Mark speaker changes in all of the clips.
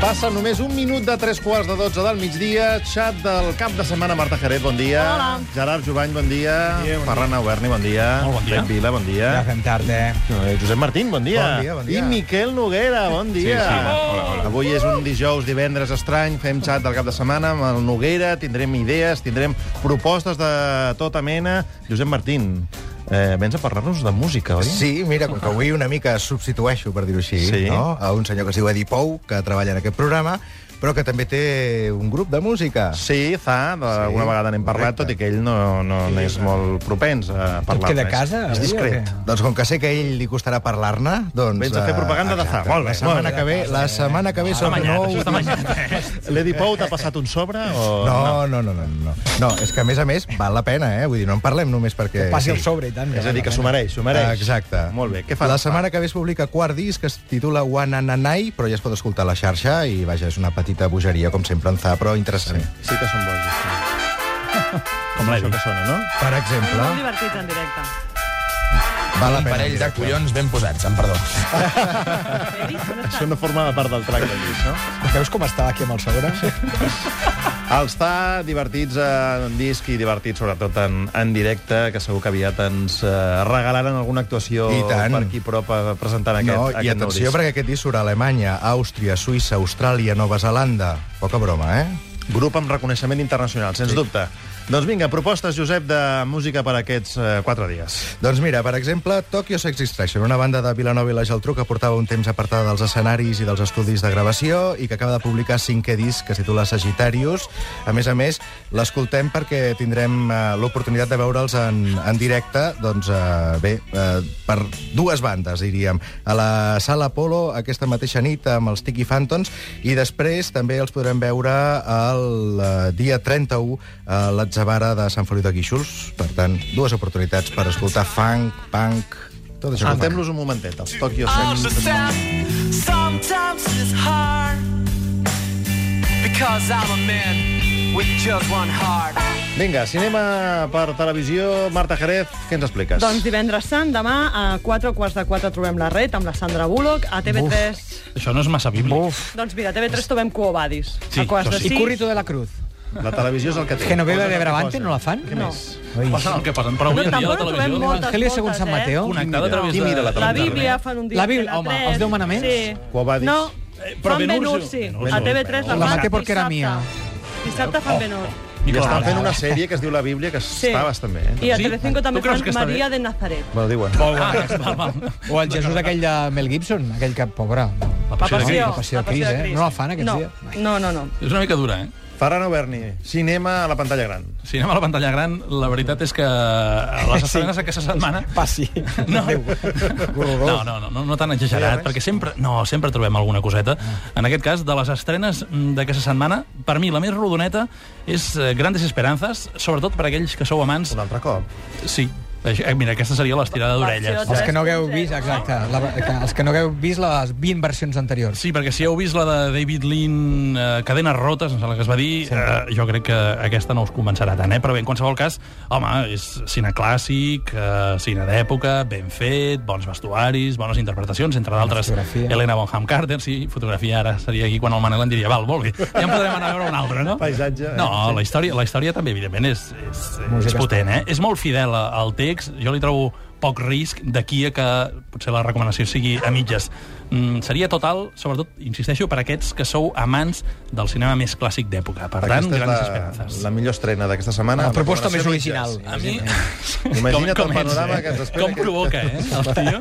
Speaker 1: Passa només un minut de tres quarts de 12 del migdia. Xat del cap de setmana, Marta Jerez, bon dia.
Speaker 2: Hola.
Speaker 1: Gerard Jovany, bon dia.
Speaker 3: dia, bon
Speaker 1: Ferran Auberni, bon dia.
Speaker 3: Molt bon dia.
Speaker 1: Pep Vila, bon dia.
Speaker 4: Ja fem tard, eh?
Speaker 1: Eh, Josep Martín, bon dia.
Speaker 4: Bon dia, bon dia.
Speaker 1: I Miquel Noguera, bon dia.
Speaker 3: Sí, sí. Hola, hola.
Speaker 1: Avui és un dijous, divendres estrany, fem xat del cap de setmana amb el Noguera, tindrem idees, tindrem propostes de tota mena. Josep Martín, eh, vens a parlar-nos de música, oi?
Speaker 4: Sí, mira, com que avui una mica substitueixo, per dir-ho així,
Speaker 1: Sí.
Speaker 4: no? a un senyor que es diu Edi Pou, que treballa en aquest programa, però que també té un grup de música.
Speaker 1: Sí, Za, alguna
Speaker 4: Sí,
Speaker 1: vegada n'hem parlat,
Speaker 4: correcte.
Speaker 1: tot i que ell no, no, no és molt propens a parlar.
Speaker 4: queda a casa,
Speaker 1: És
Speaker 4: avui, o
Speaker 1: discret.
Speaker 4: què? Doncs com que sé que a ell li costarà parlar-ne, doncs...
Speaker 1: Vens a fer propaganda de Za. Molt bé,
Speaker 4: La setmana
Speaker 1: molt bé.
Speaker 4: que ve, la setmana que ve sobre nou...
Speaker 1: L'Edi Pou t'ha passat un sobre? O...
Speaker 4: No, no, no, no, no. No, és que a més a més val la pena, eh? Vull dir, no en parlem només perquè...
Speaker 5: Passi el sobre, i tant.
Speaker 1: És a dir, que s'ho mereix, s'ho mereix.
Speaker 4: Ah, Exacte.
Speaker 1: Molt bé, què fa?
Speaker 4: La setmana que ve es publica quart disc, que es titula Wanananai, però ja es pot escoltar a la xarxa i, vaja, és una petita bogeria, com sempre en fa, però interessant. Sí.
Speaker 1: Sí que són bons. Sí. Com l'Edi. Això que sona, no?
Speaker 4: Per exemple,
Speaker 2: Molt divertit en directe.
Speaker 4: val la
Speaker 6: Un
Speaker 4: pena.
Speaker 6: parell de collons ben posats, em perdó.
Speaker 1: Això no forma part del track del disc, no?
Speaker 5: Veus com estava aquí amb el sobre?
Speaker 1: Els fa divertits en disc i divertits sobretot en, en directe, que segur que aviat ens eh, regalaran alguna actuació
Speaker 4: I tant.
Speaker 1: per aquí prop eh, presentant aquest,
Speaker 4: No,
Speaker 1: aquest
Speaker 4: I
Speaker 1: nou
Speaker 4: atenció,
Speaker 1: disc.
Speaker 4: perquè aquest disc surt a Alemanya, Àustria, Suïssa, Austràlia, Nova Zelanda... Poca broma, eh?
Speaker 1: Grup amb reconeixement internacional, sens sí. dubte. Doncs vinga, propostes, Josep, de música per aquests eh, quatre dies.
Speaker 4: Doncs mira, per exemple, Tokyo Sex Distraction, una banda de Vilanova i la Geltrú que portava un temps apartada dels escenaris i dels estudis de gravació i que acaba de publicar cinquè disc que es titula Sagittarius. A més a més, l'escoltem perquè tindrem eh, l'oportunitat de veure'ls en, en directe, doncs, eh, bé, eh, per dues bandes, diríem. A la Sala Apolo aquesta mateixa nit amb els Tiki Phantoms i després també els podrem veure el eh, dia 31 a l'Atzavara de Sant Feliu de Guíxols. Per tant, dues oportunitats per escoltar funk, punk, tot això. que
Speaker 1: Antem-los un momentet, els Tokyo
Speaker 2: Ah,
Speaker 1: Sex.
Speaker 7: understand sometimes it's hard because I'm a man with just one heart.
Speaker 1: Vinga, cinema per televisió. Marta Jerez, què ens expliques?
Speaker 2: Doncs divendres sant, demà a 4 quarts de 4 trobem la red amb la Sandra Bullock. A TV3...
Speaker 3: Això no és massa bíblic. Uf.
Speaker 2: Doncs mira, a TV3 trobem Cuo Vadis.
Speaker 3: Sí,
Speaker 2: a quarts de
Speaker 3: això sí.
Speaker 5: I
Speaker 2: 6.
Speaker 5: Currito de la Cruz.
Speaker 1: La televisió és el que té.
Speaker 5: Genoveva
Speaker 1: Posa
Speaker 5: de
Speaker 1: una
Speaker 5: Brabante
Speaker 1: cosa.
Speaker 5: no la fan?
Speaker 1: Què
Speaker 2: No.
Speaker 1: més?
Speaker 3: Passen el que passen,
Speaker 2: No,
Speaker 3: però avui en dia
Speaker 2: tampoc
Speaker 3: la
Speaker 2: en trobem
Speaker 3: televisió...
Speaker 2: moltes,
Speaker 5: Evangelio segons
Speaker 2: moltes,
Speaker 5: Sant Mateo.
Speaker 2: Eh?
Speaker 3: Connectada a través
Speaker 1: Qui
Speaker 3: de...
Speaker 1: mira la
Speaker 2: La
Speaker 1: televisió?
Speaker 2: Bíblia fan un dia...
Speaker 5: La Bíblia,
Speaker 2: a
Speaker 5: home,
Speaker 2: tres.
Speaker 5: els deu manaments?
Speaker 2: Sí.
Speaker 1: Quo Vadis.
Speaker 2: No,
Speaker 3: Eh, però
Speaker 2: fan
Speaker 3: Ben-Hur,
Speaker 2: Ben-Hur,
Speaker 3: sí.
Speaker 2: sí.
Speaker 3: Ben-Hur.
Speaker 2: A TV3 la,
Speaker 5: La
Speaker 2: fan
Speaker 5: mate porque era
Speaker 2: dissabte.
Speaker 5: mía.
Speaker 2: Dissabte
Speaker 3: Oh,
Speaker 2: fan Ben-Hur.
Speaker 1: I
Speaker 3: Nicolau
Speaker 1: estan fent
Speaker 3: Grau.
Speaker 1: una sèrie que es diu La Bíblia, que
Speaker 2: Sí.
Speaker 1: està bastant bé. Eh?
Speaker 2: I a
Speaker 3: Sí?
Speaker 2: Telecinco també
Speaker 3: Tu creus
Speaker 2: fan
Speaker 3: que està
Speaker 2: Maria
Speaker 3: bé?
Speaker 2: de Nazaret.
Speaker 1: Me ho diuen.
Speaker 3: Molt bé. Ah, val, val.
Speaker 5: O el Jesús aquell de Mel Gibson, aquell que, pobre...
Speaker 3: La passió de
Speaker 5: Sí,
Speaker 3: Crist.
Speaker 5: la passió de Crist, eh? No la fan aquests
Speaker 2: no.
Speaker 5: dies. Ai.
Speaker 2: No, no, no.
Speaker 3: És una mica dura, eh?
Speaker 1: Ferran Oberni, cinema a la pantalla gran.
Speaker 3: Si anem a la pantalla gran, la veritat és que a les estrenes aquesta setmana...
Speaker 5: Passi.
Speaker 3: No. No, no, no, no, no tan exagerat, perquè sempre, no, sempre trobem alguna coseta. En aquest cas, de les estrenes mm, d'aquesta setmana, per mi la més rodoneta és eh, Grandes Esperances, sobretot per aquells que sou amants...
Speaker 1: Un altre cop.
Speaker 3: Sí, Això- eh, mira, aquesta seria l'estirada d'orelles.
Speaker 5: Els que no hagueu vist, exacte, la, que, els que no hagueu vist les 20 versions anteriors.
Speaker 3: Sí, perquè si heu vist la de David Lean, eh, Cadenes rotes, em sembla que es va dir, eh, jo crec que aquesta no us convencerà tant, eh? però bé, en qualsevol cas, home, és cine clàssic, eh, cine d'època, ben fet, bons vestuaris, bones interpretacions, entre d'altres,
Speaker 5: fotografia.
Speaker 3: Helena Bonham Carter, sí, fotografia ara seria aquí quan el Manel en diria, val, vol, bé, ja en podrem anar a veure una altra, no?
Speaker 1: Paisatge, eh?
Speaker 3: No,
Speaker 1: Sí.
Speaker 3: Ah, la història, la història també, evidentment, és, és, és
Speaker 5: Música
Speaker 3: potent, eh? És molt fidel a- al text, jo li trobo poc risc d'aquí a que potser la recomanació sigui a mitges. Mm, seria total, sobretot, insisteixo, per aquests que sou amants del cinema més clàssic d'època. Per tant,
Speaker 1: Aquesta és
Speaker 3: grans
Speaker 1: la,
Speaker 3: esperances.
Speaker 1: la millor estrena d'aquesta setmana.
Speaker 5: La proposta més
Speaker 1: Recomanació
Speaker 5: original.
Speaker 1: mitges.
Speaker 3: A mi...
Speaker 1: Imagina't el
Speaker 3: ets,
Speaker 1: panorama
Speaker 3: eh?
Speaker 1: que ens espera
Speaker 3: Com
Speaker 1: aquest-
Speaker 3: provoca, eh, el tio?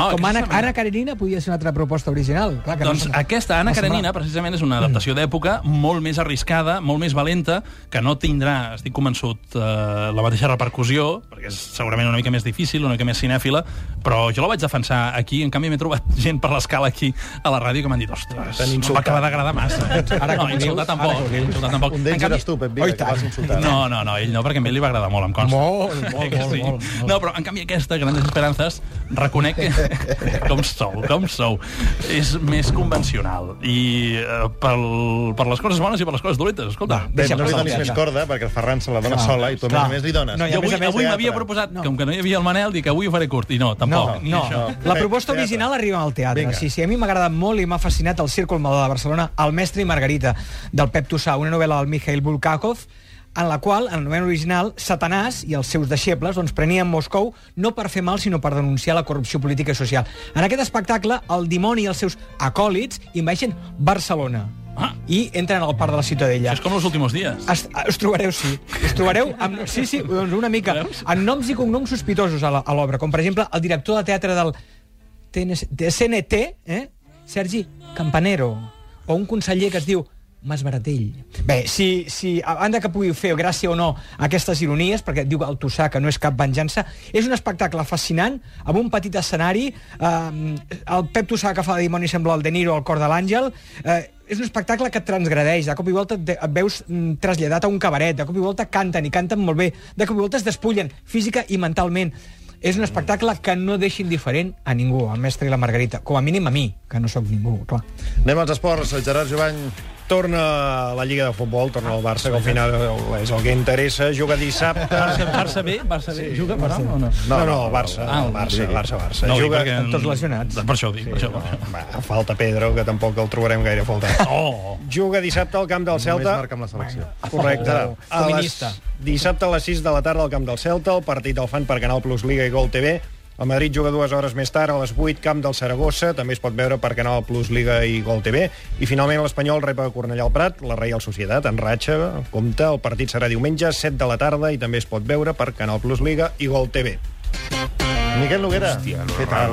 Speaker 5: Com
Speaker 3: aquesta
Speaker 5: Anna,
Speaker 3: setmana-
Speaker 5: Anna Karenina podia ser una altra proposta original. Clar, que
Speaker 3: Doncs
Speaker 5: no
Speaker 3: aquesta Anna
Speaker 5: no sembla-
Speaker 3: Karenina, precisament, és una adaptació d'època molt més arriscada, molt més valenta, que no tindrà, estic convençut, eh, la mateixa repercussió, perquè és segurament una mica més difícil, una mica més cinèfila, però jo la vaig defensar aquí, en canvi m'he trobat gent per l'escala aquí a la ràdio que m'han dit, ostres, no m'acaba d'agradar massa.
Speaker 5: Ara que
Speaker 3: no,
Speaker 5: ho
Speaker 3: insultar
Speaker 5: dius,
Speaker 3: tampoc,
Speaker 5: ara que ho dius.
Speaker 3: insultar tampoc.
Speaker 1: Un
Speaker 3: En
Speaker 1: d'ells
Speaker 3: canvi-
Speaker 1: eres tu, Pep Vila,
Speaker 5: Oi,
Speaker 1: que vas
Speaker 5: tant.
Speaker 1: insultar.
Speaker 3: no, no, no, ell no, perquè a ell li va agradar molt, em consta.
Speaker 5: Molt, molt,
Speaker 3: Eh que
Speaker 5: molt, molt, molt.
Speaker 3: No, però en canvi aquesta, Grandes Esperances, reconec que... com sou, com sou. És més convencional. I eh, pel, per les coses bones i per les coses dolentes, escolta.
Speaker 1: Bé,
Speaker 5: Deixa'm
Speaker 1: no li
Speaker 5: passar el
Speaker 1: donis més
Speaker 5: viatge.
Speaker 1: corda, perquè el Ferran se la dona sola i tu a més a
Speaker 5: clar.
Speaker 1: més li dones.
Speaker 5: No, i a
Speaker 3: Jo
Speaker 5: més
Speaker 3: avui,
Speaker 5: a més,
Speaker 3: avui
Speaker 5: ja,
Speaker 3: m'havia
Speaker 1: però-
Speaker 3: proposat,
Speaker 5: No.
Speaker 3: com que no hi havia el Manel, genial, dic avui ho faré curt. I no, tampoc. ni
Speaker 5: no.
Speaker 3: això.
Speaker 5: La proposta original arriba al teatre.
Speaker 1: Vinga.
Speaker 5: Sí, sí, a mi m'ha agradat molt i m'ha fascinat el Círcul Maló de Barcelona, El mestre i Margarita, del Pep Tussà, una novel·la del Mikhail Bulgakov, en la qual, en el moment original, Satanàs i els seus deixebles doncs, prenien Moscou no per fer mal, sinó per denunciar la corrupció política i social. En aquest espectacle, el dimoni i els seus acòlits inveixen Barcelona
Speaker 3: Ah.
Speaker 5: i entren al parc de la Ciutadella.
Speaker 3: Això és com els últims dies.
Speaker 5: Es, us trobareu, sí. Us trobareu amb, sí, sí, doncs una mica. Amb noms i cognoms sospitosos a la- a l'obra, com per exemple el director de teatre del TNC, de CNT, eh? Sergi Campanero, o un conseller que es diu Mas Baratell. Bé, si, si, a banda que pugui fer gràcia o no aquestes ironies, perquè diu el Tossà que no és cap venjança, és un espectacle fascinant, amb un petit escenari, eh, el Pep Tossà que fa de dimoni sembla el De Niro al cor de l'Àngel, eh, és un espectacle que et transgradeix. De cop i volta et, de- et veus mm, traslladat a un cabaret. De cop i volta canten, i canten molt bé. De cop i volta es despullen, física i mentalment. És un espectacle que no deixa indiferent a ningú, al mestre i la Margarita. Com a mínim a mi, que no sóc ningú, clar.
Speaker 1: Anem als esports. El Gerard Jovany...
Speaker 8: Torna a la Lliga de Futbol, torna al Barça, que al final és el que interessa. Juga dissabte...
Speaker 3: Barça, Barça bé? Barça bé? Juga, però, o no?
Speaker 8: No, no, el Barça,
Speaker 3: Ah,
Speaker 8: el Barça, el Barça, el Barça.
Speaker 3: No, ho dic
Speaker 8: Juga...
Speaker 3: perquè-
Speaker 5: tots lesionats.
Speaker 3: Per això ho dic. Per això.
Speaker 8: No, va, falta Pedro, que tampoc el trobarem gaire faltat.
Speaker 3: Oh!
Speaker 8: Juga dissabte al camp del
Speaker 1: Només
Speaker 8: Celta.
Speaker 1: marca amb la selecció.
Speaker 8: Correcte.
Speaker 5: Oh,
Speaker 8: A les,
Speaker 5: feminista.
Speaker 8: dissabte a les 6 de la tarda al camp del Celta, el partit el fan per Canal Plus Liga i Gol TV. El Madrid juga dues hores més tard, a les 8, camp del Saragossa, també es pot veure per Canal Plus Liga i Gol TV. I finalment l'Espanyol rep a Cornellà al Prat, la Reial Societat en ratxa, compte, el partit serà diumenge, 7 de la tarda, i també es pot veure per Canal Plus Liga i Gol TV.
Speaker 1: Miquel Noguera, Hòstia, què tal?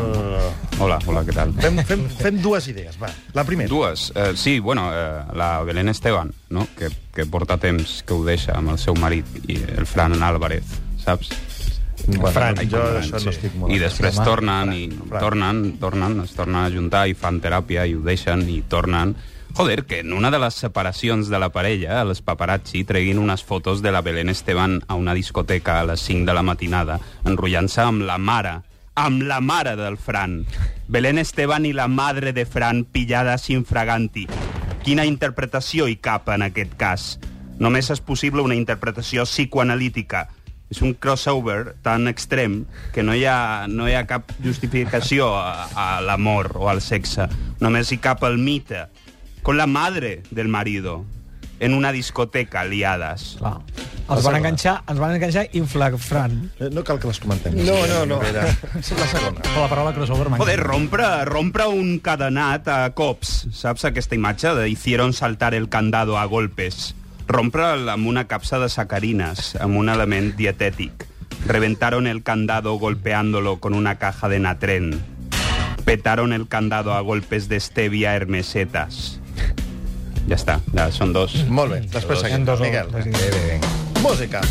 Speaker 9: Hola, hola, què tal?
Speaker 1: Fem, fem, fem dues idees, va. La primera.
Speaker 9: Dues. Eh, sí, bueno, eh, la Belén Esteban, no? que, que porta temps que ho deixa amb el seu marit, i el Fran Álvarez, saps?
Speaker 1: Bueno,
Speaker 8: Fran,
Speaker 1: jo
Speaker 9: Fran,
Speaker 1: d'això no estic molt...
Speaker 9: I després
Speaker 1: Sí, home.
Speaker 9: tornen, i
Speaker 1: Fran.
Speaker 9: tornen, tornen, es tornen a juntar i fan teràpia i ho deixen i tornen. Joder, que en una de les separacions de la parella, els paparazzi treguin unes fotos de la Belén Esteban a una discoteca a les 5 de la matinada, enrotllant-se amb la mare, amb la mare del Fran. Belén Esteban i la madre de Fran pillada sin fraganti. Quina interpretació hi cap en aquest cas? Només és possible una interpretació psicoanalítica. És un crossover tan extrem que no hi ha, no hi ha cap justificació a, a l'amor o al sexe. Només hi cap el mite. Con la madre del marido en una discoteca liadas.
Speaker 5: clar. Els van enganxar, ens van enganxar inflafrant.
Speaker 1: Eh, No cal que les comentem.
Speaker 8: No, no, no.
Speaker 1: Noguera. La segona.
Speaker 3: Però la paraula crossover m'encanta.
Speaker 9: Joder, rompre, rompre un cadenat a cops. Saps aquesta imatge de hicieron saltar el candado a golpes? Rompre amb una capsa de sacarines, amb un element dietètic. Reventaron el candado golpeándolo con una caja de natren. Petaron el candado a golpes de stevia hermesetas. Ja està, ja són dos.
Speaker 1: Molt bé, després seguim.
Speaker 5: Dos o-
Speaker 1: Miquel.
Speaker 5: dos i-
Speaker 1: Música.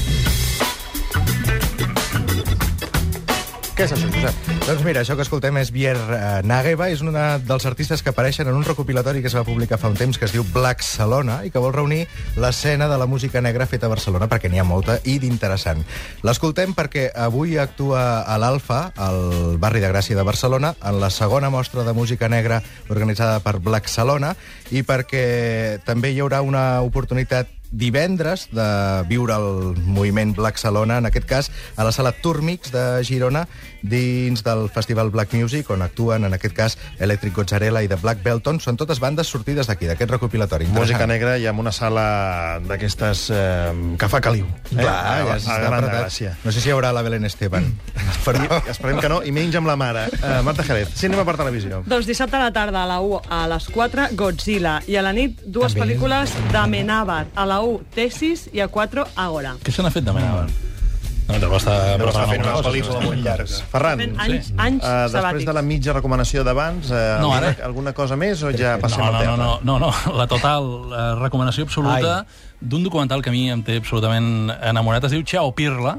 Speaker 1: Què és això, Josep?
Speaker 4: Doncs mira, això que escoltem és Bier eh, Nageva, és un dels artistes que apareixen en un recopilatori que es va publicar fa un temps que es diu Black Salona i que vol reunir l'escena de la música negra feta a Barcelona, perquè n'hi ha molta i d'interessant. L'escoltem perquè avui actua a l'Alfa, al barri de Gràcia de Barcelona, en la segona mostra de música negra organitzada per Black Salona i perquè també hi haurà una oportunitat divendres de viure el moviment Black Salona, en aquest cas a la sala Turmix de Girona, dins del Festival Black Music, on actuen, en aquest cas, Electric Gozzarella i The Black Belton. Són totes bandes sortides d'aquí, d'aquest recopilatori.
Speaker 1: Música
Speaker 4: Interessant.
Speaker 1: negra i amb una sala d'aquestes eh, que fa caliu. Eh?
Speaker 4: Clar,
Speaker 1: a,
Speaker 4: ja
Speaker 1: a,
Speaker 4: s'està
Speaker 1: a Gran
Speaker 4: apretat.
Speaker 1: Gràcia. Mm.
Speaker 4: No sé si hi haurà la Belén Esteban. Però...
Speaker 1: Esperem que no, i menys amb la mare. Uh, Marta Jerez, cinema per televisió.
Speaker 2: Doncs dissabte a la tarda a la 1 a les 4, Godzilla. I a la nit, dues També. pel·lícules d'Amenàbar. A la 1, Tesis, i a 4, Agora.
Speaker 3: Què se n'ha fet de Menaven? No, Ah, deu estar
Speaker 1: Deu estar
Speaker 3: preparant
Speaker 1: fent
Speaker 3: alguna
Speaker 1: unes
Speaker 3: cosa.
Speaker 1: pel·lícules molt llargues. Ferran,
Speaker 2: Fent anys, anys
Speaker 1: eh, després
Speaker 2: sabàtics.
Speaker 1: de la mitja recomanació d'abans, eh,
Speaker 3: No,
Speaker 1: alguna,
Speaker 3: ara.
Speaker 1: alguna cosa més o ja passem
Speaker 3: No,
Speaker 1: al
Speaker 3: no,
Speaker 1: tema?
Speaker 3: no, no, no, no, la total eh, recomanació absoluta d'un documental que a mi em té absolutament enamorat, es diu Ciao Pirla,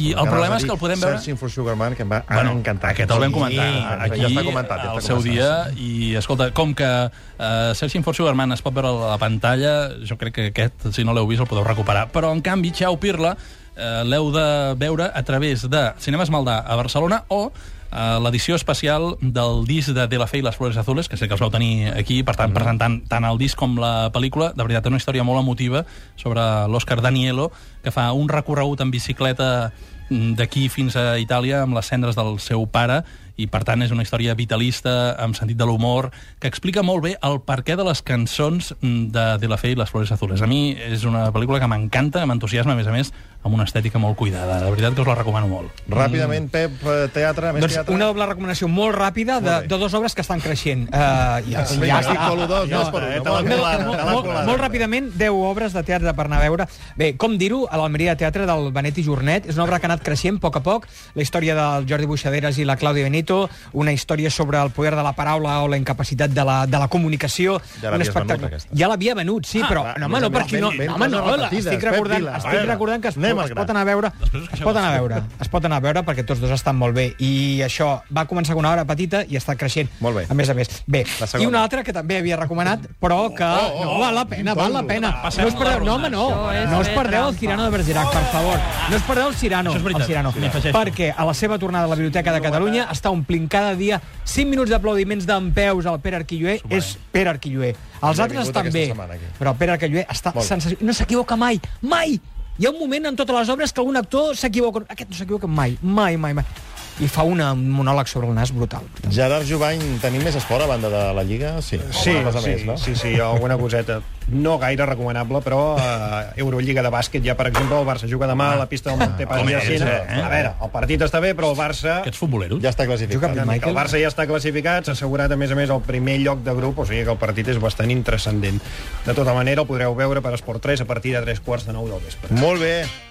Speaker 3: i el problema és que el podem veure...
Speaker 1: Searching for Sugar Man, que em va
Speaker 3: Bueno,
Speaker 1: encantar.
Speaker 3: Aquest el vam comentar eh, aquí,
Speaker 1: Ah, ja està comentat, ja
Speaker 3: al
Speaker 1: està
Speaker 3: seu
Speaker 1: comentat.
Speaker 3: dia, i escolta, com que uh, Searching for Sugar Man es pot veure a la pantalla, jo crec que aquest, si no l'heu vist, el podeu recuperar. Però, en canvi, Ciao Pirla eh, l'heu de veure a través de Cinemes Maldà a Barcelona o eh, l'edició especial del disc de De la Fe i les Flores Azules, que sé que els vau tenir aquí, per
Speaker 1: Mm-hmm.
Speaker 3: tant, presentant tant el disc com la pel·lícula. De veritat, una història molt emotiva sobre l'Òscar Danielo, que fa un recorregut en bicicleta mm, d'aquí fins a Itàlia amb les cendres del seu pare i per tant és una història vitalista amb sentit de l'humor que explica molt bé el perquè de les cançons mm, de De La Fe i les Flores Azules. A mi és una pel·lícula que m'encanta, m'entusiasma a més a més amb una estètica molt cuidada. De veritat que us la recomano molt.
Speaker 1: Ràpidament, Pep, eh, teatre, més
Speaker 5: Doncs
Speaker 1: teatre.
Speaker 5: una doble recomanació molt ràpida de,
Speaker 1: Molt bé.
Speaker 5: de dues obres que estan creixent. Uh, ja,
Speaker 1: Vinga,
Speaker 5: ja,
Speaker 1: estic colo dos,
Speaker 8: ja
Speaker 1: dos
Speaker 8: està,
Speaker 1: per una.
Speaker 8: eh, te la
Speaker 1: Molt bé.
Speaker 8: colada,
Speaker 1: Molt-
Speaker 8: te la
Speaker 5: molt,
Speaker 1: molt-
Speaker 5: molt ràpidament, 10 obres de teatre per anar a veure. Bé, com dir-ho, a l'Almeria de Teatre del Benet i Jornet és una obra que ha anat creixent a poc a poc, la història del Jordi Buixaderes i la Clàudia Benito, una història sobre el poder de la paraula o la incapacitat de la, de la comunicació.
Speaker 1: Ja l'havies
Speaker 5: un espectacle-
Speaker 1: venut, aquesta.
Speaker 5: Ja l'havia venut, sí, però...
Speaker 1: va,
Speaker 5: no, home, no,
Speaker 1: ben-
Speaker 5: perquè no...
Speaker 1: ben- ben
Speaker 5: no, home, no,
Speaker 1: coses
Speaker 5: la- estic
Speaker 1: repetides, Pep
Speaker 5: recordant,
Speaker 1: Vila.
Speaker 5: estic
Speaker 1: Vinga,
Speaker 5: recordant que es,
Speaker 1: anem al
Speaker 5: es
Speaker 1: gran.
Speaker 5: pot anar a veure...
Speaker 3: Després us
Speaker 5: Es
Speaker 3: queixeu
Speaker 5: pot anar a veure, es pot anar a veure perquè tots dos estan molt bé i això va començar amb una obra petita i està creixent.
Speaker 1: Molt bé.
Speaker 5: A més a més. Bé,
Speaker 1: La segona.
Speaker 5: i una altra que també havia recomanat, però que no val la pena, val la pena.
Speaker 3: Oh, Passem
Speaker 5: No us perdeu,
Speaker 3: la
Speaker 5: no,
Speaker 3: ronda.
Speaker 5: home, no.
Speaker 2: Això és
Speaker 5: No us
Speaker 2: fer
Speaker 5: perdeu el
Speaker 2: trampa.
Speaker 5: Cirano de Bergerac, per favor. No us perdeu el Cirano,
Speaker 3: Això és
Speaker 5: el
Speaker 3: veritat.
Speaker 5: Cirano,
Speaker 3: Sí, afegeixo.
Speaker 5: perquè a la seva tornada a la Biblioteca de Catalunya està omplint cada dia 5 minuts d'aplaudiments d'en peus al Pere Arquilloé. És Pere Arquilloé. Els
Speaker 1: ha
Speaker 5: altres
Speaker 1: vingut
Speaker 5: estan
Speaker 1: aquesta
Speaker 5: bé,
Speaker 1: setmana aquí.
Speaker 5: però Pere Arquilloé està
Speaker 1: Molt bé.
Speaker 5: sensacional. No s'equivoca mai, mai! Hi ha un moment en totes les obres que algun actor s'equivoca. Aquest no s'equivoca mai, mai, mai, mai. I fa una, un monòleg sobre el nas brutal.
Speaker 1: Gerard Jovany, tenim més esport a banda de la Lliga? Sí,
Speaker 8: Sí,
Speaker 1: Alguna cosa
Speaker 8: sí,
Speaker 1: més, no?
Speaker 8: sí, sí, alguna coseta. No gaire recomanable, però a Eurolliga de bàsquet ja, per exemple, el Barça juga demà a la pista del
Speaker 1: Ah,
Speaker 8: Monte Paz
Speaker 3: home,
Speaker 8: i Assina.
Speaker 3: és, eh?
Speaker 8: A veure, el partit està bé, però el Barça...
Speaker 3: Aquests futboleros.
Speaker 1: Ja està
Speaker 5: Juga
Speaker 1: classificat.
Speaker 5: amb Michael.
Speaker 8: El Barça ja està classificat, s'ha assegurat a més a més el primer lloc de grup, o sigui que el partit és bastant intrascendent. De tota manera, el podreu veure per Esport 3 a partir de 3 quarts de 9 del vespre.
Speaker 1: Molt bé.